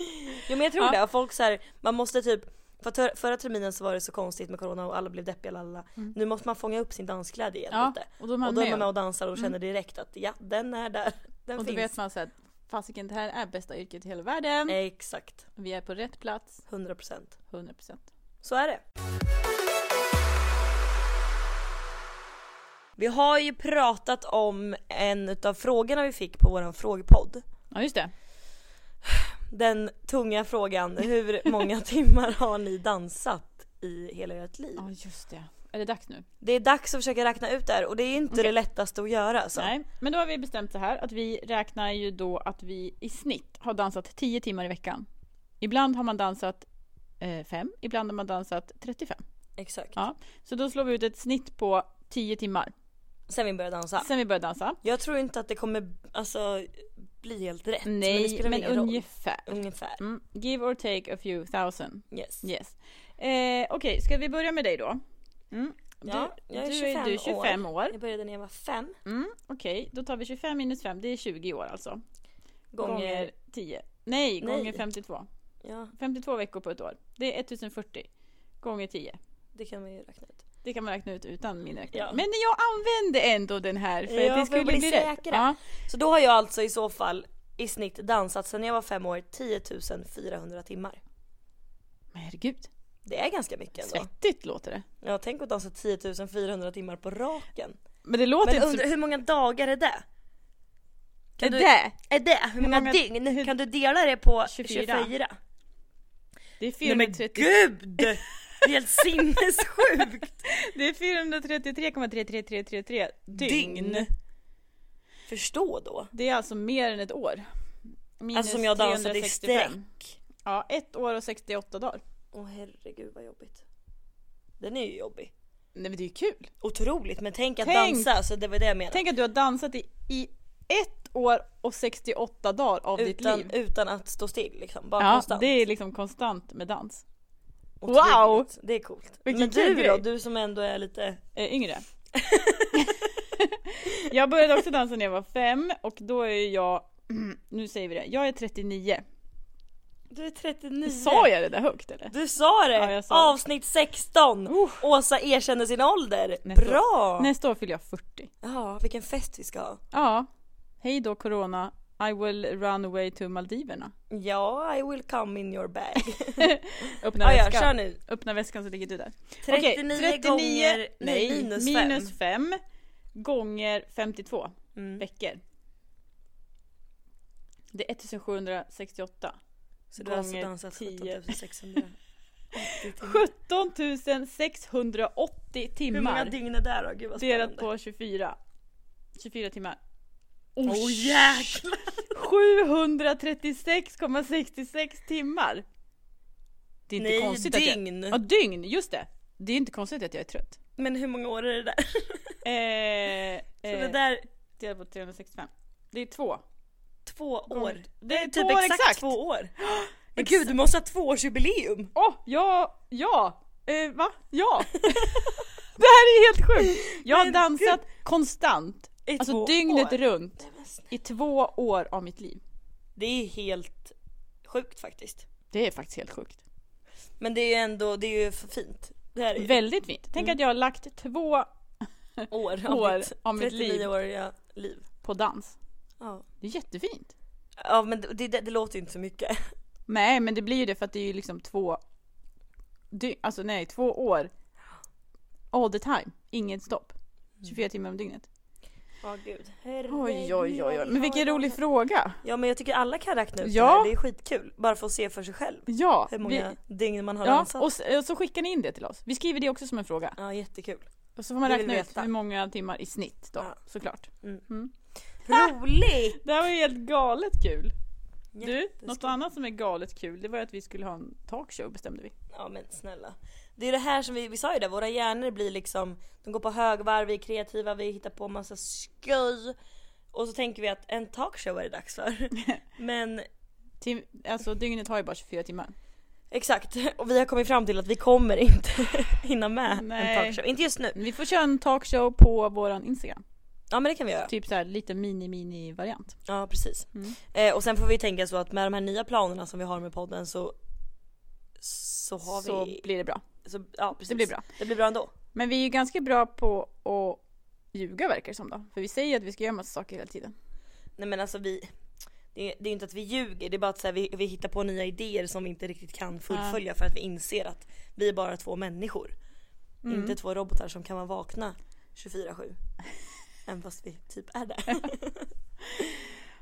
S1: jo men jag tror
S2: Ja.
S1: det. Folk så här, man måste typ för att för- förra terminen så var det så konstigt med corona och alla blev deppiga lalala. Nu måste man fånga upp sin dansglädje igen
S2: Mm. Ja,
S1: lite.
S2: och då är man
S1: Och då är
S2: med.
S1: man
S2: Mm.
S1: med och dansar och känner direkt att ja den är där. [laughs] Den
S2: Och då
S1: finns. Eh.
S2: vet man så här, fasiken det här är bästa yrket i hela världen.
S1: Exakt.
S2: Vi är på rätt plats,
S1: 100%.
S2: 100%.
S1: Så är det. Vi har ju pratat om en utav frågorna vi fick på våran frågepodd.
S2: Ja just det.
S1: Den tunga [laughs] frågan, hur många timmar har ni dansat i hela ert liv?
S2: Ja just det. Är det dags nu?
S1: Det är dags att försöka räkna ut det här och det är inte
S2: Okej.
S1: det lättaste att göra alltså.
S2: Nej, men då har vi bestämt så här att vi räknar ju då att vi i snitt har dansat 10 timmar i veckan. Ibland har man dansat 5, ibland har man dansat 35.
S1: Exakt.
S2: Ja. Så då slår vi ut ett snitt på 10 timmar
S1: Sen vi började dansa.
S2: sen vi började dansa.
S1: Jag tror inte att det kommer alltså, bli helt rätt. men det
S2: Nej,
S1: spelar
S2: men,
S1: väl ingen roll.
S2: ungefär.
S1: Ungefär.
S2: Mm. Give or take a few thousand.
S1: Yes.
S2: Yes. Eh, Okej, ska vi börja med dig då? Mm.
S1: Ja, jag är
S2: du
S1: 25
S2: du är 25 år.
S1: Jag började när jag var fem
S2: Mm, Okej, då tar vi 25 minus 5, det är 20 år alltså.
S1: gånger...
S2: 10. Nej,
S1: Nej.
S2: gånger 52.
S1: Ja,
S2: 52 veckor på ett år. Det är 1040 gånger 10.
S1: det kan man ju räkna ut.
S2: Det kan man räkna ut utan min räkning.
S1: Ja.
S2: Men jag använde ändå den här för
S1: Ja,
S2: att
S1: för
S2: det
S1: att
S2: skulle
S1: bli
S2: bli rätt.
S1: säkra. Så då har jag alltså i så fall i snitt dansat sen jag var fem år 10 400 timmar.
S2: Men herregud,
S1: Det är ganska mycket ändå.
S2: svettigt låter det.
S1: Ja, tänk att dansa 10 400 timmar på raken.
S2: Men det låter
S1: Men
S2: inte
S1: undra, hur många dagar är det?
S2: så...
S1: du-
S2: Det,
S1: Är det? Hur många,
S2: många-
S1: dygn? Kan du dela det på
S2: 24?
S1: 24?
S2: det,
S1: Nej
S2: är
S1: men
S2: 430,
S1: gud! [laughs] Det är helt sinnessjukt!
S2: det är 433,33333
S1: [laughs]
S2: dygn.
S1: Dygn. Förstå då.
S2: Det är alltså mer än ett år. Minus
S1: Alltså som jag dansade i
S2: 365.
S1: sträck.
S2: Ja, ett år och 68 dagar.
S1: Åh herregud vad jobbigt. Den är ju jobbig.
S2: Nej men det är ju kul.
S1: Otroligt men tänk att
S2: Tänk-
S1: dansa, så det var det jag menade.
S2: Tänk att du har dansat i, i ett år och 68 dagar av ditt
S1: Utan,
S2: liv.
S1: utan att stå still liksom, bara
S2: Ja,
S1: konstant.
S2: det är liksom konstant med dans.
S1: Otroligt.
S2: Wow!
S1: Det är coolt.
S2: Vilken
S1: men
S2: kul
S1: du då?
S2: grej.
S1: Du som ändå är lite... [laughs]
S2: Eh, yngre. [laughs] jag började också dansa när jag var fem och då är jag, [clears throat] nu säger vi det, jag är 39.
S1: Du är 39.
S2: Sa jag det där högt eller?
S1: Du sa det!
S2: Ja, jag sa det.
S1: Avsnitt 16!
S2: Uh.
S1: Åsa erkänner sin ålder.
S2: Nästa år.
S1: Bra!
S2: Nästa år fyller jag 40.
S1: Ja, vilken fest vi ska ha.
S2: Ja, hej då corona. I will run away to Maldiverna.
S1: Ja, I will come in your
S2: [laughs]
S1: bag.
S2: Öppna
S1: Ah, ja, ja,
S2: väskan.
S1: kör nu.
S2: Öppna väskan så ligger du där.
S1: 39,
S2: Okej,
S1: gånger... Nej, minus,
S2: minus
S1: 5.
S2: 5 gånger 52
S1: Mm.
S2: veckor. Det är 1768.
S1: Så du har alltså
S2: gånger
S1: dansat
S2: 10.
S1: 17 600.
S2: 17 680
S1: Mm. Hur många
S2: timmar
S1: dygn är det då? Gud vad
S2: delat
S1: spännande.
S2: på 24. 24 timmar.
S1: Åh oh, jäklar!
S2: 736,66 timmar. Det är inte
S1: Nej,
S2: konstigt att
S1: dygn!
S2: jag... Ja, dygn. Just det. Det är inte konstigt att jag är trött.
S1: Men hur många år är det där?
S2: Eh,
S1: Så det
S2: eh,
S1: där,
S2: delat på 365. Det är två.
S1: två år.
S2: Det är
S1: Typ
S2: två år
S1: exakt,
S2: exakt.
S1: två
S2: [gasps]
S1: år. Men
S2: Exakt.
S1: gud, du måste ha tvåårsjubileum!
S2: Åh, ja, ja, eh, va? [laughs] Ja. det här är helt sjukt. Jag har
S1: Men
S2: dansat konstant,
S1: I två
S2: alltså dygnet
S1: år.
S2: runt,
S1: Nej, men snälla.
S2: i två år av mitt liv.
S1: Det är helt sjukt faktiskt.
S2: Det är faktiskt helt sjukt.
S1: Men det är ju ändå, det är ju för fint. Det här är ju
S2: Väldigt fint. Tänk att jag har lagt två
S1: år av
S2: år
S1: mitt,
S2: av Mm. mitt liv.
S1: 39-åriga liv.
S2: på dans.
S1: Ja.
S2: Det är jättefint.
S1: ja men det, det, det låter ju inte så mycket.
S2: Nej, men det blir ju det för att det är ju liksom två, dy- alltså nej, två år all the time, inget stopp. 24 timmar om dygnet.
S1: Ja gud.
S2: Mm. Oj, oj, oj, oj. Men vilken rolig fråga.
S1: Ja men jag tycker alla kan räkna ut
S2: Ja.
S1: det här. Det är skitkul. Bara för att se för sig själv.
S2: Ja,
S1: Hur
S2: vi-
S1: många dygn man har
S2: Ja,
S1: dansat.
S2: och s- och så skickar ni in det till oss. Vi skriver det också som en fråga.
S1: Ja jättekul.
S2: Och så får man
S1: Det vill
S2: räkna
S1: vi
S2: ut
S1: veta.
S2: hur många timmar i snitt då,
S1: Ja.
S2: såklart.
S1: Roligt!
S2: Det här var ju helt galet kul. Du,
S1: Jätteskoj.
S2: något annat som är galet kul, det var ju att vi skulle ha en talkshow bestämde vi.
S1: Ja men snälla. Det är det här som vi, vi sa ju det, våra hjärnor blir liksom, de går på högvarv, vi är kreativa, vi hittar på massa sköj. Och så tänker vi att en talkshow är det dags
S2: [laughs]
S1: för. Men
S2: Tim, alltså dygnet har ju bara 24 timmar.
S1: exakt, och vi har kommit fram till att vi kommer inte [laughs] hinna med
S2: Nej.
S1: en talkshow. Inte just nu.
S2: Men Vi får köra en talkshow på våran Instagram.
S1: Ja men det kan vi göra.
S2: Typ så här lite mini-mini-variant.
S1: Ja precis.
S2: Mm.
S1: Eh, och sen får vi tänka så att med de här nya planerna som vi har med podden så så har
S2: Så
S1: vi...
S2: blir det bra.
S1: Så, ja, precis.
S2: Det blir bra.
S1: Det blir bra ändå.
S2: Men vi är ju ganska bra på att ljuga verkar det som då. För vi säger ju att vi ska göra massa saker hela tiden.
S1: Nej men alltså vi Det, det är ju inte att vi ljuger, det är bara att så här, vi, vi hittar på nya idéer som vi inte riktigt kan fullfölja för att vi inser att vi är bara två människor.
S2: Mm.
S1: Inte två robotar som kan vara vakna
S2: [laughs]
S1: 24-7. Även fast vi typ är det.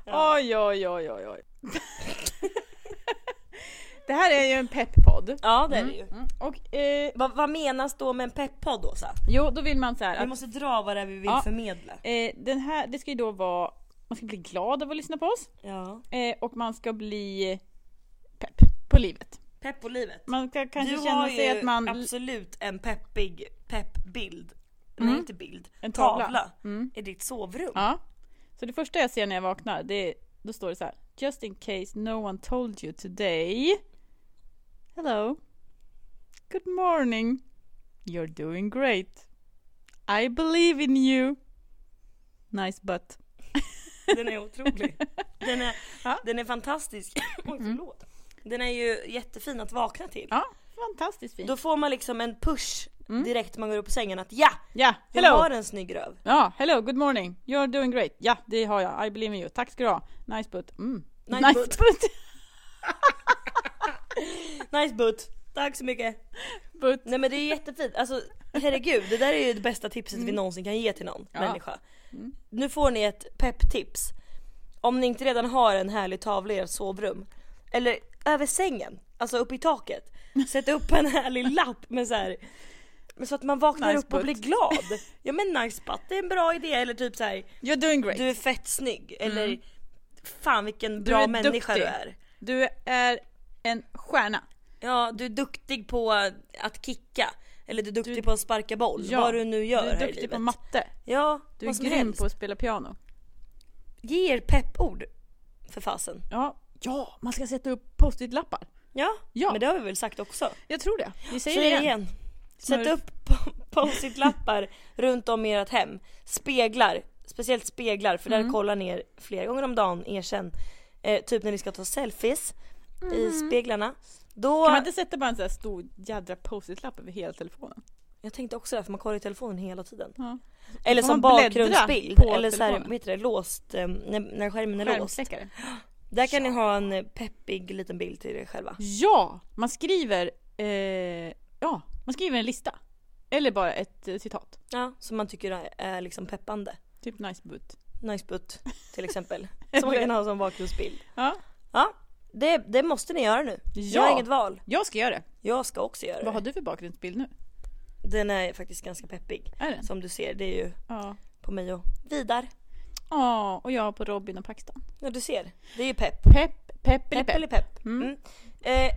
S2: Oj, oj, oj, oj, oj. [laughs] Det här är ju en pepppodd.
S1: Ja det är det ju.
S2: Mm. Och eh,
S1: Vad, vad menas då med en peppodd Åsa?
S2: jo, då vill man så här
S1: Vi
S2: att
S1: måste dra vad det är vi vill
S2: Ja.
S1: förmedla.
S2: eh, den här, det ska ju då vara, man ska bli glad av att lyssna på oss
S1: Ja.
S2: eh, och man ska bli pepp på livet.
S1: Pepp och livet.
S2: Man ska kanske
S1: du
S2: känna
S1: har ju
S2: sig att man...
S1: absolut en peppig peppbild. Nej inte bild.
S2: Mm. En tavla. Mm.
S1: I ditt sovrum.
S2: Ja. Så det första jag ser när jag vaknar, det är, då står det så här. Just in case no one told you today. Hello. Good morning. You're doing great. I believe in you. Nice butt.
S1: Den är otrolig. Den är,
S2: [laughs] Ja. Mm.
S1: den är fantastisk. [clears throat] Oj förlåt. Den är ju jättefin att vakna till.
S2: Ja, fantastiskt fint.
S1: Då får man liksom en push direkt man går upp ur sängen att ja!
S2: Ja,
S1: Jag
S2: hello.
S1: har en snygg röv.
S2: Ja, hello, good morning. You're doing great. Ja, det har jag. I believe in you. Tack ska du ha. Nice butt. Mm.
S1: Nice butt.
S2: [laughs] butt.
S1: Nice butt. Tack så mycket.
S2: butt.
S1: Nej men det är jättefint. Alltså herregud, det där är ju det bästa tipset vi någonsin kan ge till någon
S2: Mm. Ja. Mm.
S1: människa. Nu får ni ett pepptips. Om ni inte redan har en härlig tavla i ert sovrum. Eller över sängen, alltså upp i taket. Sätt upp en härlig lapp med så här. Men så att man vaknar
S2: Nice
S1: upp och
S2: butt.
S1: blir glad. Ja men nice butt, det är en bra idé. Eller typ så här,
S2: You're doing great.
S1: du är fett snygg. Eller fan vilken bra
S2: Mm. är
S1: människa
S2: duktig.
S1: du är.
S2: Du är en stjärna.
S1: Ja, du är duktig på att kicka. Eller du är duktig på att sparka boll.
S2: Ja,
S1: vad du nu gör
S2: Du är
S1: här i
S2: duktig
S1: livet.
S2: på matte.
S1: ja,
S2: Du
S1: vad
S2: är
S1: som
S2: grym
S1: helst.
S2: på att spela piano.
S1: Ge er peppord. För fasen.
S2: Ja, ja man ska sätta upp post-it-lappar.
S1: Ja,
S2: Ja.
S1: men det har vi väl sagt också.
S2: Jag tror det. Vi säger
S1: Säg
S2: det igen.
S1: Sätt
S2: Smurf.
S1: upp po- post-it-lappar runt om i ert hem. Speglar, speciellt speglar för
S2: Mm.
S1: där kollar ni er flera gånger om dagen, erkänn. Eh, typ när ni ska ta selfies i speglarna. Då,
S2: Mm. Kan man inte sätta bara en sån här stor jädra post-it-lapp över hela telefonen?
S1: Jag tänkte också det för man kollar ju telefonen hela tiden.
S2: Ja.
S1: Eller
S2: Får
S1: som
S2: man bläddra
S1: bakgrundsbild,
S2: på
S1: eller så här,
S2: telefonen?
S1: vad heter det, låst, eh, när, när skärmen är låst.
S2: Skärmsläckare.
S1: Där kan ni ha en eh, peppig liten bild till er själva.
S2: Ja, man skriver, eh, ja, man skriver en lista. Eller bara ett eh, citat.
S1: Ja, som man tycker är, är liksom peppande.
S2: Typ nice butt.
S1: Nice butt till
S2: [laughs]
S1: exempel. som man kan ha som bakgrundsbild.
S2: Ja.
S1: Ja, det, det måste ni göra nu. Jag
S2: Ja.
S1: har inget val.
S2: Jag ska göra det.
S1: Jag ska också göra
S2: Vad har
S1: det.
S2: du för bakgrundsbild nu?
S1: Den är faktiskt ganska peppig.
S2: Är den?
S1: Som du ser, det är ju
S2: Ja.
S1: på mig och Vidar.
S2: Ja, och jag på Robin och Paxton.
S1: Ja, du ser. Det är ju pepp.
S2: Pepp, pepp eller
S1: Pepp eller
S2: pepp.
S1: pepp. Mm. Eh,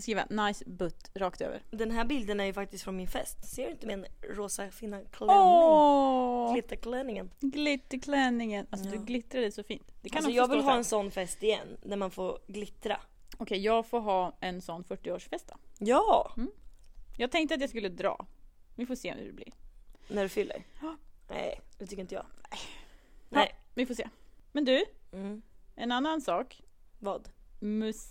S2: Skriva nice butt rakt över.
S1: den här bilden är ju faktiskt från min fest. Ser du inte min rosa fina klänning?
S2: Åh!
S1: Glitterklänningen.
S2: Glitterklänningen. Alltså
S1: Ja.
S2: du glittrade så fint. Det kan
S1: Alltså
S2: också
S1: jag
S2: stå
S1: vill
S2: så här.
S1: ha en sån fest igen, när man får glittra.
S2: Okej, jag får ha en sån 40-årsfest då.
S1: Ja!
S2: Jag tänkte att jag skulle dra. Vi får se hur det blir.
S1: När du fyller?
S2: Ja.
S1: Nej, det tycker inte jag. Nej.
S2: Vi får se. Men du,
S1: Mm.
S2: en annan sak.
S1: Vad?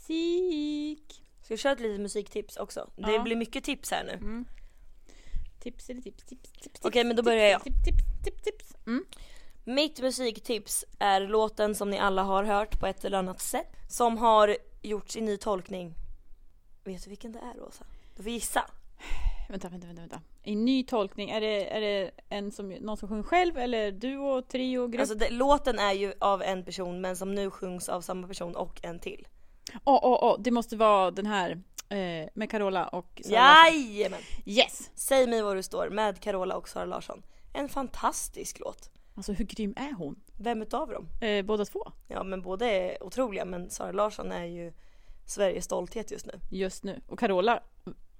S2: Musik.
S1: Ska jag köra ett litet musiktips också? Det
S2: Ja.
S1: blir mycket tips här nu.
S2: Tips eller tips, tips, tips. tips,
S1: Mm. Okej, men då
S2: tips,
S1: börjar jag.
S2: Tips, tips, tips, tips. Mm.
S1: Mitt musiktips är låten som ni alla har hört på ett eller annat sätt. Som har gjorts i ny tolkning. Vet du vilken det är Åsa? Du får gissa.
S2: Vänta, vänta, vänta, vänta. I ny tolkning, är det, är det en som, någon som sjunger själv eller duo, trio, grupp?
S1: Alltså det, låten är ju av en person men som nu sjungs av samma person och en till.
S2: Åh, åh, åh, det måste vara den här eh, med Carola och Sara Larsson.
S1: Jajamän!
S2: Yes!
S1: Säg mig var du står med Carola och Sara Larsson. En fantastisk låt.
S2: Alltså hur grym är hon?
S1: Vem utav dem?
S2: Eh, båda två,
S1: Ja men båda är otroliga men Sara Larsson är ju Sveriges stolthet just nu.
S2: just nu. Och Carola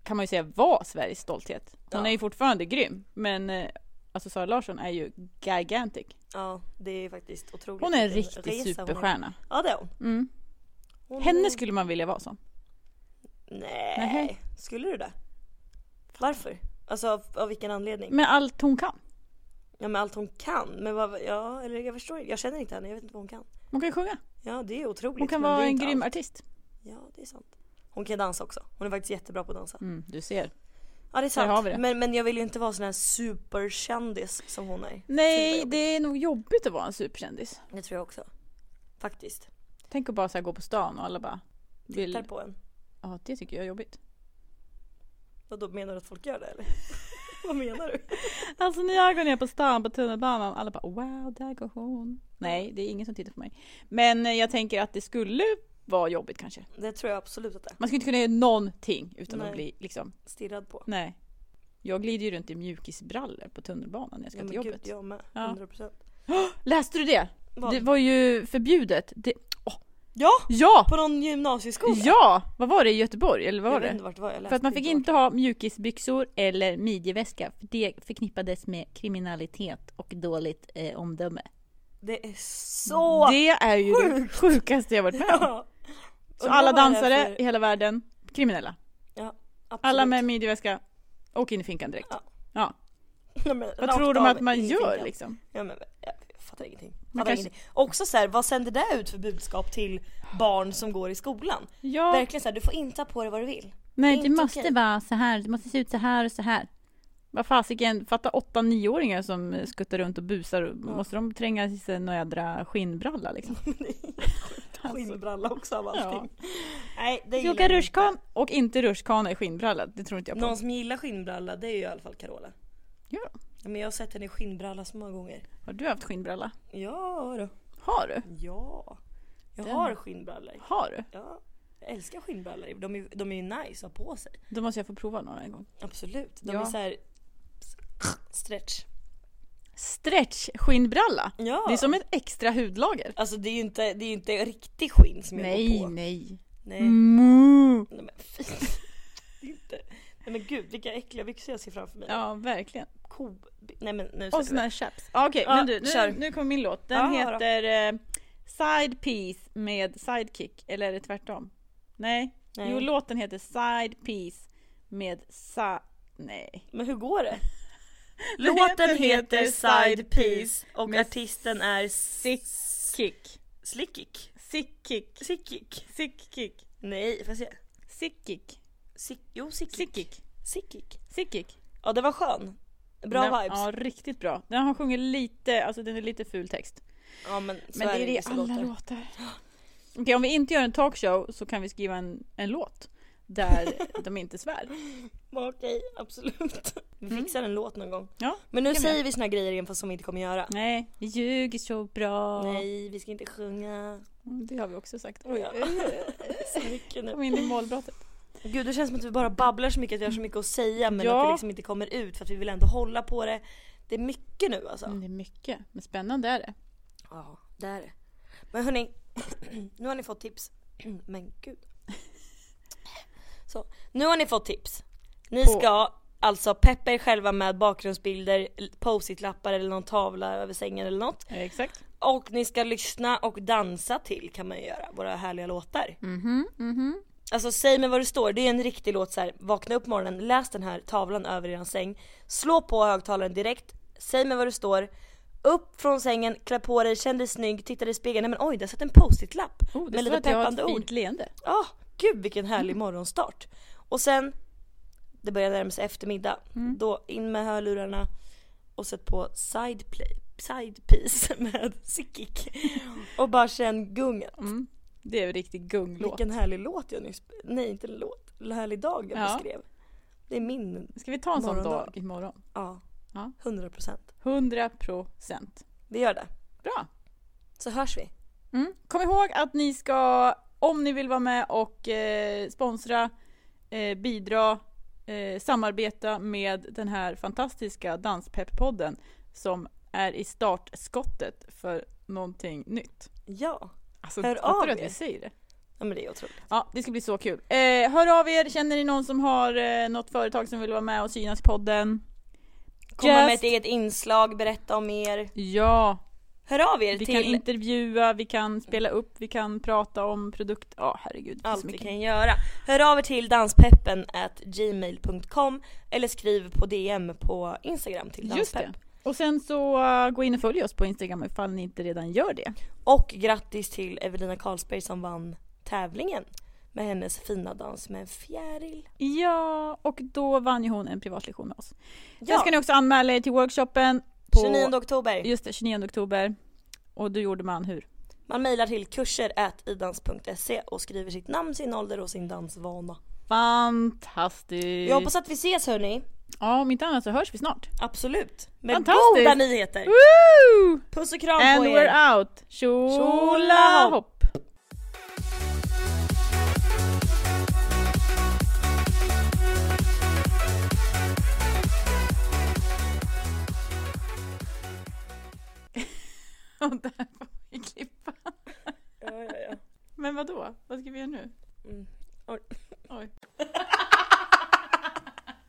S2: kan man ju säga var Sveriges stolthet. Hon
S1: Ja.
S2: är ju fortfarande grym, men eh, alltså Sara Larsson är ju gigantic.
S1: Ja det är faktiskt otroligt.
S2: Hon är en
S1: vilken
S2: riktig
S1: resa hon har-
S2: superstjärna.
S1: Ja det är hon.
S2: Mm.
S1: hon
S2: Henne skulle man vilja vara som.
S1: Nej.
S2: Nähä.
S1: Skulle du det? Varför? Alltså av, av vilken anledning?
S2: Med allt hon kan.
S1: Ja men allt hon kan. Men vad, ja eller jag förstår Jag känner inte henne, jag vet inte vad hon kan.
S2: Hon kan sjunga.
S1: Ja det är otroligt.
S2: Hon kan
S1: men Liksom, det
S2: vara
S1: är
S2: en
S1: inte
S2: grym
S1: allt.
S2: artist.
S1: Ja det är sant. Hon kan dansa också. Hon är faktiskt jättebra på att dansa.
S2: Mm, du ser.
S1: Ja det är sant.
S2: har vi det.
S1: Men, men jag vill ju inte vara sån här superkändis som hon är.
S2: Nej,
S1: jobbigt.
S2: det är nog jobbigt att vara en superkändis.
S1: Det tror jag också. Faktiskt.
S2: Tänk att bara så här gå på stan och alla bara vill...
S1: Tittar på en.
S2: Ja, det tycker jag är jobbigt.
S1: Vadå menar du att folk gör det
S2: [laughs]
S1: eller? vad menar du?
S2: Alltså när jag går ner på stan på tunnelbanan, alla bara wow, där går hon. Nej, det är ingen som tittar på mig. Men eh, jag tänker att det skulle var jobbigt kanske.
S1: Det tror jag absolut att det är.
S2: Man skulle inte kunna göra någonting utan
S1: Nej.
S2: att bli liksom,
S1: Stirrad på.
S2: nej. Jag glider ju runt i mjukisbrallor på tunnelbanan när jag ska
S1: Ja, men
S2: till jobbet.
S1: gud, jag med.
S2: Ja.
S1: 100%.
S2: Läste du det?
S1: Vad?
S2: Det var ju förbjudet. Det... åh,
S1: Ja!
S2: Ja!
S1: På någon gymnasieskola?
S2: Ja! Vad var det i Göteborg? Eller vad var
S1: jag vet
S2: det?
S1: inte vart det var jag läste
S2: För att man
S1: det
S2: fick
S1: igår.
S2: inte ha mjukisbyxor eller midjeväska. För det förknippades med kriminalitet och dåligt eh, omdöme.
S1: Det är så
S2: det är ju
S1: sjukt!
S2: det sjukaste jag varit med om.
S1: [laughs] Ja.
S2: Så
S1: Undrar
S2: alla
S1: vad det är
S2: dansare
S1: för-
S2: i hela världen, kriminella.
S1: Absolut.
S2: Alla med midjeväska och in i finkan direkt.
S1: Ja.
S2: Ja.
S1: [laughs] Nej, men
S2: Vad
S1: rakt
S2: tror de
S1: av
S2: att man
S1: i
S2: gör
S1: finkan.
S2: liksom?
S1: Ja, men, jag, jag fattar ingenting.
S2: Man
S1: Fattar
S2: kanske-
S1: ingenting. Också så här, vad sänder det ut för budskap till barn som går i skolan?
S2: Ja.
S1: Verkligen så här, du får inte ha på dig vad du vill.
S2: Nej,
S1: Det är
S2: det
S1: inte
S2: måste
S1: okej.
S2: vara så här. Det måste se ut så här och så här. Vad fasiken, fatta åtta nioåringar som eh, skuttar runt och busar. Måste de tränga i sig några jädra
S1: [laughs]
S2: skinnbralla liksom? alltså,
S1: Skinnbralla också av allting. Nej, det
S2: jag ska
S1: gillar
S2: åka
S1: jag
S2: rutschkan och inte rutschkana i skinnbralla. Det tror inte jag
S1: inte.
S2: på.
S1: Någon som gillar skinnbralla det är ju i alla fall Carola.
S2: Ja.
S1: Ja, Men jag har sett henne i skinnbralla så många gånger.
S2: Har du haft skinnbralla?
S1: Ja då.
S2: Har du?
S1: Ja. Jag
S2: Den-
S1: har skinnbrallor.
S2: Har du?
S1: Ja. Jag älskar skinnbrallor. De är, de är ju nice att ha på sig.
S2: Då måste jag få prova några en gång.
S1: Absolut. De
S2: Ja.
S1: är så här stretch.
S2: Stretch skinnbralla.
S1: Ja.
S2: Det är som ett extra hudlager.
S1: Alltså det är ju inte, det är ju inte riktig skinn som jag går
S2: Nej,
S1: på. Eh.
S2: nej.
S1: Nej.
S2: Mm.
S1: Nej men fy. [laughs] Det är inte. Nej men gud vilka äckliga byxor jag ser framför mig.
S2: Ja, verkligen.
S1: Ko... Nej men nu
S2: Och
S1: släpper
S2: såna
S1: vi.
S2: här chaps. Ja, Okej,
S1: Ja,
S2: men du,
S1: kör.
S2: nu, nu kommer min låt. Den
S1: Ja, då.
S2: heter eh, Side Piece med Sidekick, eller är det tvärtom? Nej.
S1: Nej.
S2: Jo, låten heter Side Piece med sa... Nej.
S1: Men hur går
S2: [laughs]
S1: det? [laughs] Låten heter Side Piece och
S2: med
S1: artisten är
S2: Sick Kick.
S1: Slickik.
S2: Sick Kick.
S1: Sickik.
S2: Sick Kick.
S1: Nej, får jag se?
S2: Sick Kick.
S1: Sick... Jo, Sickik.
S2: Sick Kick.
S1: Sickik.
S2: Sick Kick.
S1: Ja, den var skön. Bra
S2: Den-
S1: vibes.
S2: Ja, riktigt bra. Den har sjungit lite, alltså den är lite ful text.
S1: Ja, men så
S2: Men det
S1: ju
S2: är det i
S1: vissa
S2: alla
S1: låtar.
S2: låtar. Okej, om vi inte gör en talkshow så kan vi skriva en, en låt där
S1: [laughs]
S2: de inte svär.
S1: Ja, Okej, absolut. [laughs] Vi fixar en låt någon gång.
S2: Mm. Ja,
S1: Men nu
S2: kan vi
S1: säger
S2: göra.
S1: vi såna här grejer igen fast som vi inte kommer göra.
S2: Nej, vi ljuger så bra.
S1: Nej, vi ska inte sjunga.
S2: Mm, Det har vi också sagt. Oj,
S1: Ja. Så mycket nu.
S2: [laughs]
S1: Mm.
S2: kom in i målbrottet.
S1: [laughs] Gud det känns som att vi bara babblar så mycket att vi har så mycket att säga men
S2: Ja.
S1: att det liksom inte kommer ut för att vi vill ändå hålla på det. Det är mycket nu alltså.
S2: Mm, Det är mycket, men spännande är det.
S1: Ja, det är det. Men hörni, [clears throat] nu har ni fått tips. [clears throat] Men [laughs] gud. Så, nu har ni fått tips. Ni
S2: På-
S1: ska alltså peppa er själva med bakgrundsbilder, post-it-lappar eller någon tavla över sängen eller något.
S2: Eh, Exakt.
S1: Och ni ska lyssna och dansa till kan man ju göra, våra härliga låtar.
S2: Mhm, mhm.
S1: Alltså säg mig vad det står, det är en riktig låt så här. vakna upp på morgonen, läs den här tavlan över eran säng, slå på högtalaren direkt, säg mig vad det står, upp från sängen, klä på dig, känn dig snygg, titta dig i spegeln, nej men oj där satt en post-it-lapp
S2: Oh, det
S1: med
S2: står
S1: lite
S2: att jag har
S1: peppande
S2: ett
S1: ord.
S2: fint leende.
S1: Ja, gud vilken härlig morgonstart. Och sen, det börjar närma sig eftermiddag, då in med hörlurarna och sätt på sideplay, sidepiece [laughs] med Sikik och bara känn gungan.
S2: Mm. Det är en riktig gunglåt.
S1: Vilken härlig låt jag nyss, nej inte låt, härlig dag jag
S2: Ja.
S1: beskrev. Det är min,
S2: Ska vi ta en sån
S1: Morgondag.
S2: dag imorgon?
S1: ja,
S2: Ja.
S1: 100 procent.
S2: 100 procent.
S1: Vi gör det,
S2: Bra.
S1: så hörs vi.
S2: Mm. Kom ihåg att ni ska, om ni vill vara med och eh, sponsra, eh, bidra, eh, samarbeta med den här fantastiska Danspepp-podden som är i startskottet för någonting nytt.
S1: Ja,
S2: Alltså,
S1: Hör
S2: fattar
S1: av
S2: du att
S1: er.
S2: vi säger det?
S1: ja men det är otroligt.
S2: Ja, det ska bli så kul. Eh, hör av er, känner ni någon som har eh, något företag som vill vara med och synas i podden?
S1: Komma med
S2: Just-
S1: ett eget inslag, berätta om er.
S2: Ja,
S1: Hör av er
S2: vi kan
S1: till
S2: intervjua, vi kan spela upp, vi kan prata om produkt. Ja, herregud. det är så
S1: allt vi
S2: mycket.
S1: kan göra. Hör av er till danspeppen at gmail.com eller skriv på DM på Instagram till
S2: Just
S1: danspepp.
S2: det. Och sen så eh, gå in och följ oss på Instagram ifall ni inte redan gör det.
S1: Och grattis till Evelina Karlsberg som vann tävlingen med hennes fina dans med en fjäril.
S2: Ja, och då vann ju hon en privatlektion med oss. Sen
S1: Ja,
S2: ska ni också anmäla er till workshopen på
S1: 29 oktober.
S2: Just det, 29 oktober. Och då gjorde man hur?
S1: Man mejlar till kurser idans.se och skriver sitt namn, sin ålder och sin dansvana.
S2: Fantastiskt!
S1: Jag hoppas att vi ses hörni.
S2: Ja, om inte annat så hörs vi snart.
S1: Absolut. Med
S2: Fantastiskt.
S1: goda nyheter.
S2: Woo!
S1: Puss och kram
S2: And
S1: på er.
S2: we're out! Tjolahopp! [laughs] Och där får vi klippa.
S1: Ja, ja, ja.
S2: Men vad då? Vad ska vi göra nu?
S1: Mm.
S2: Oj.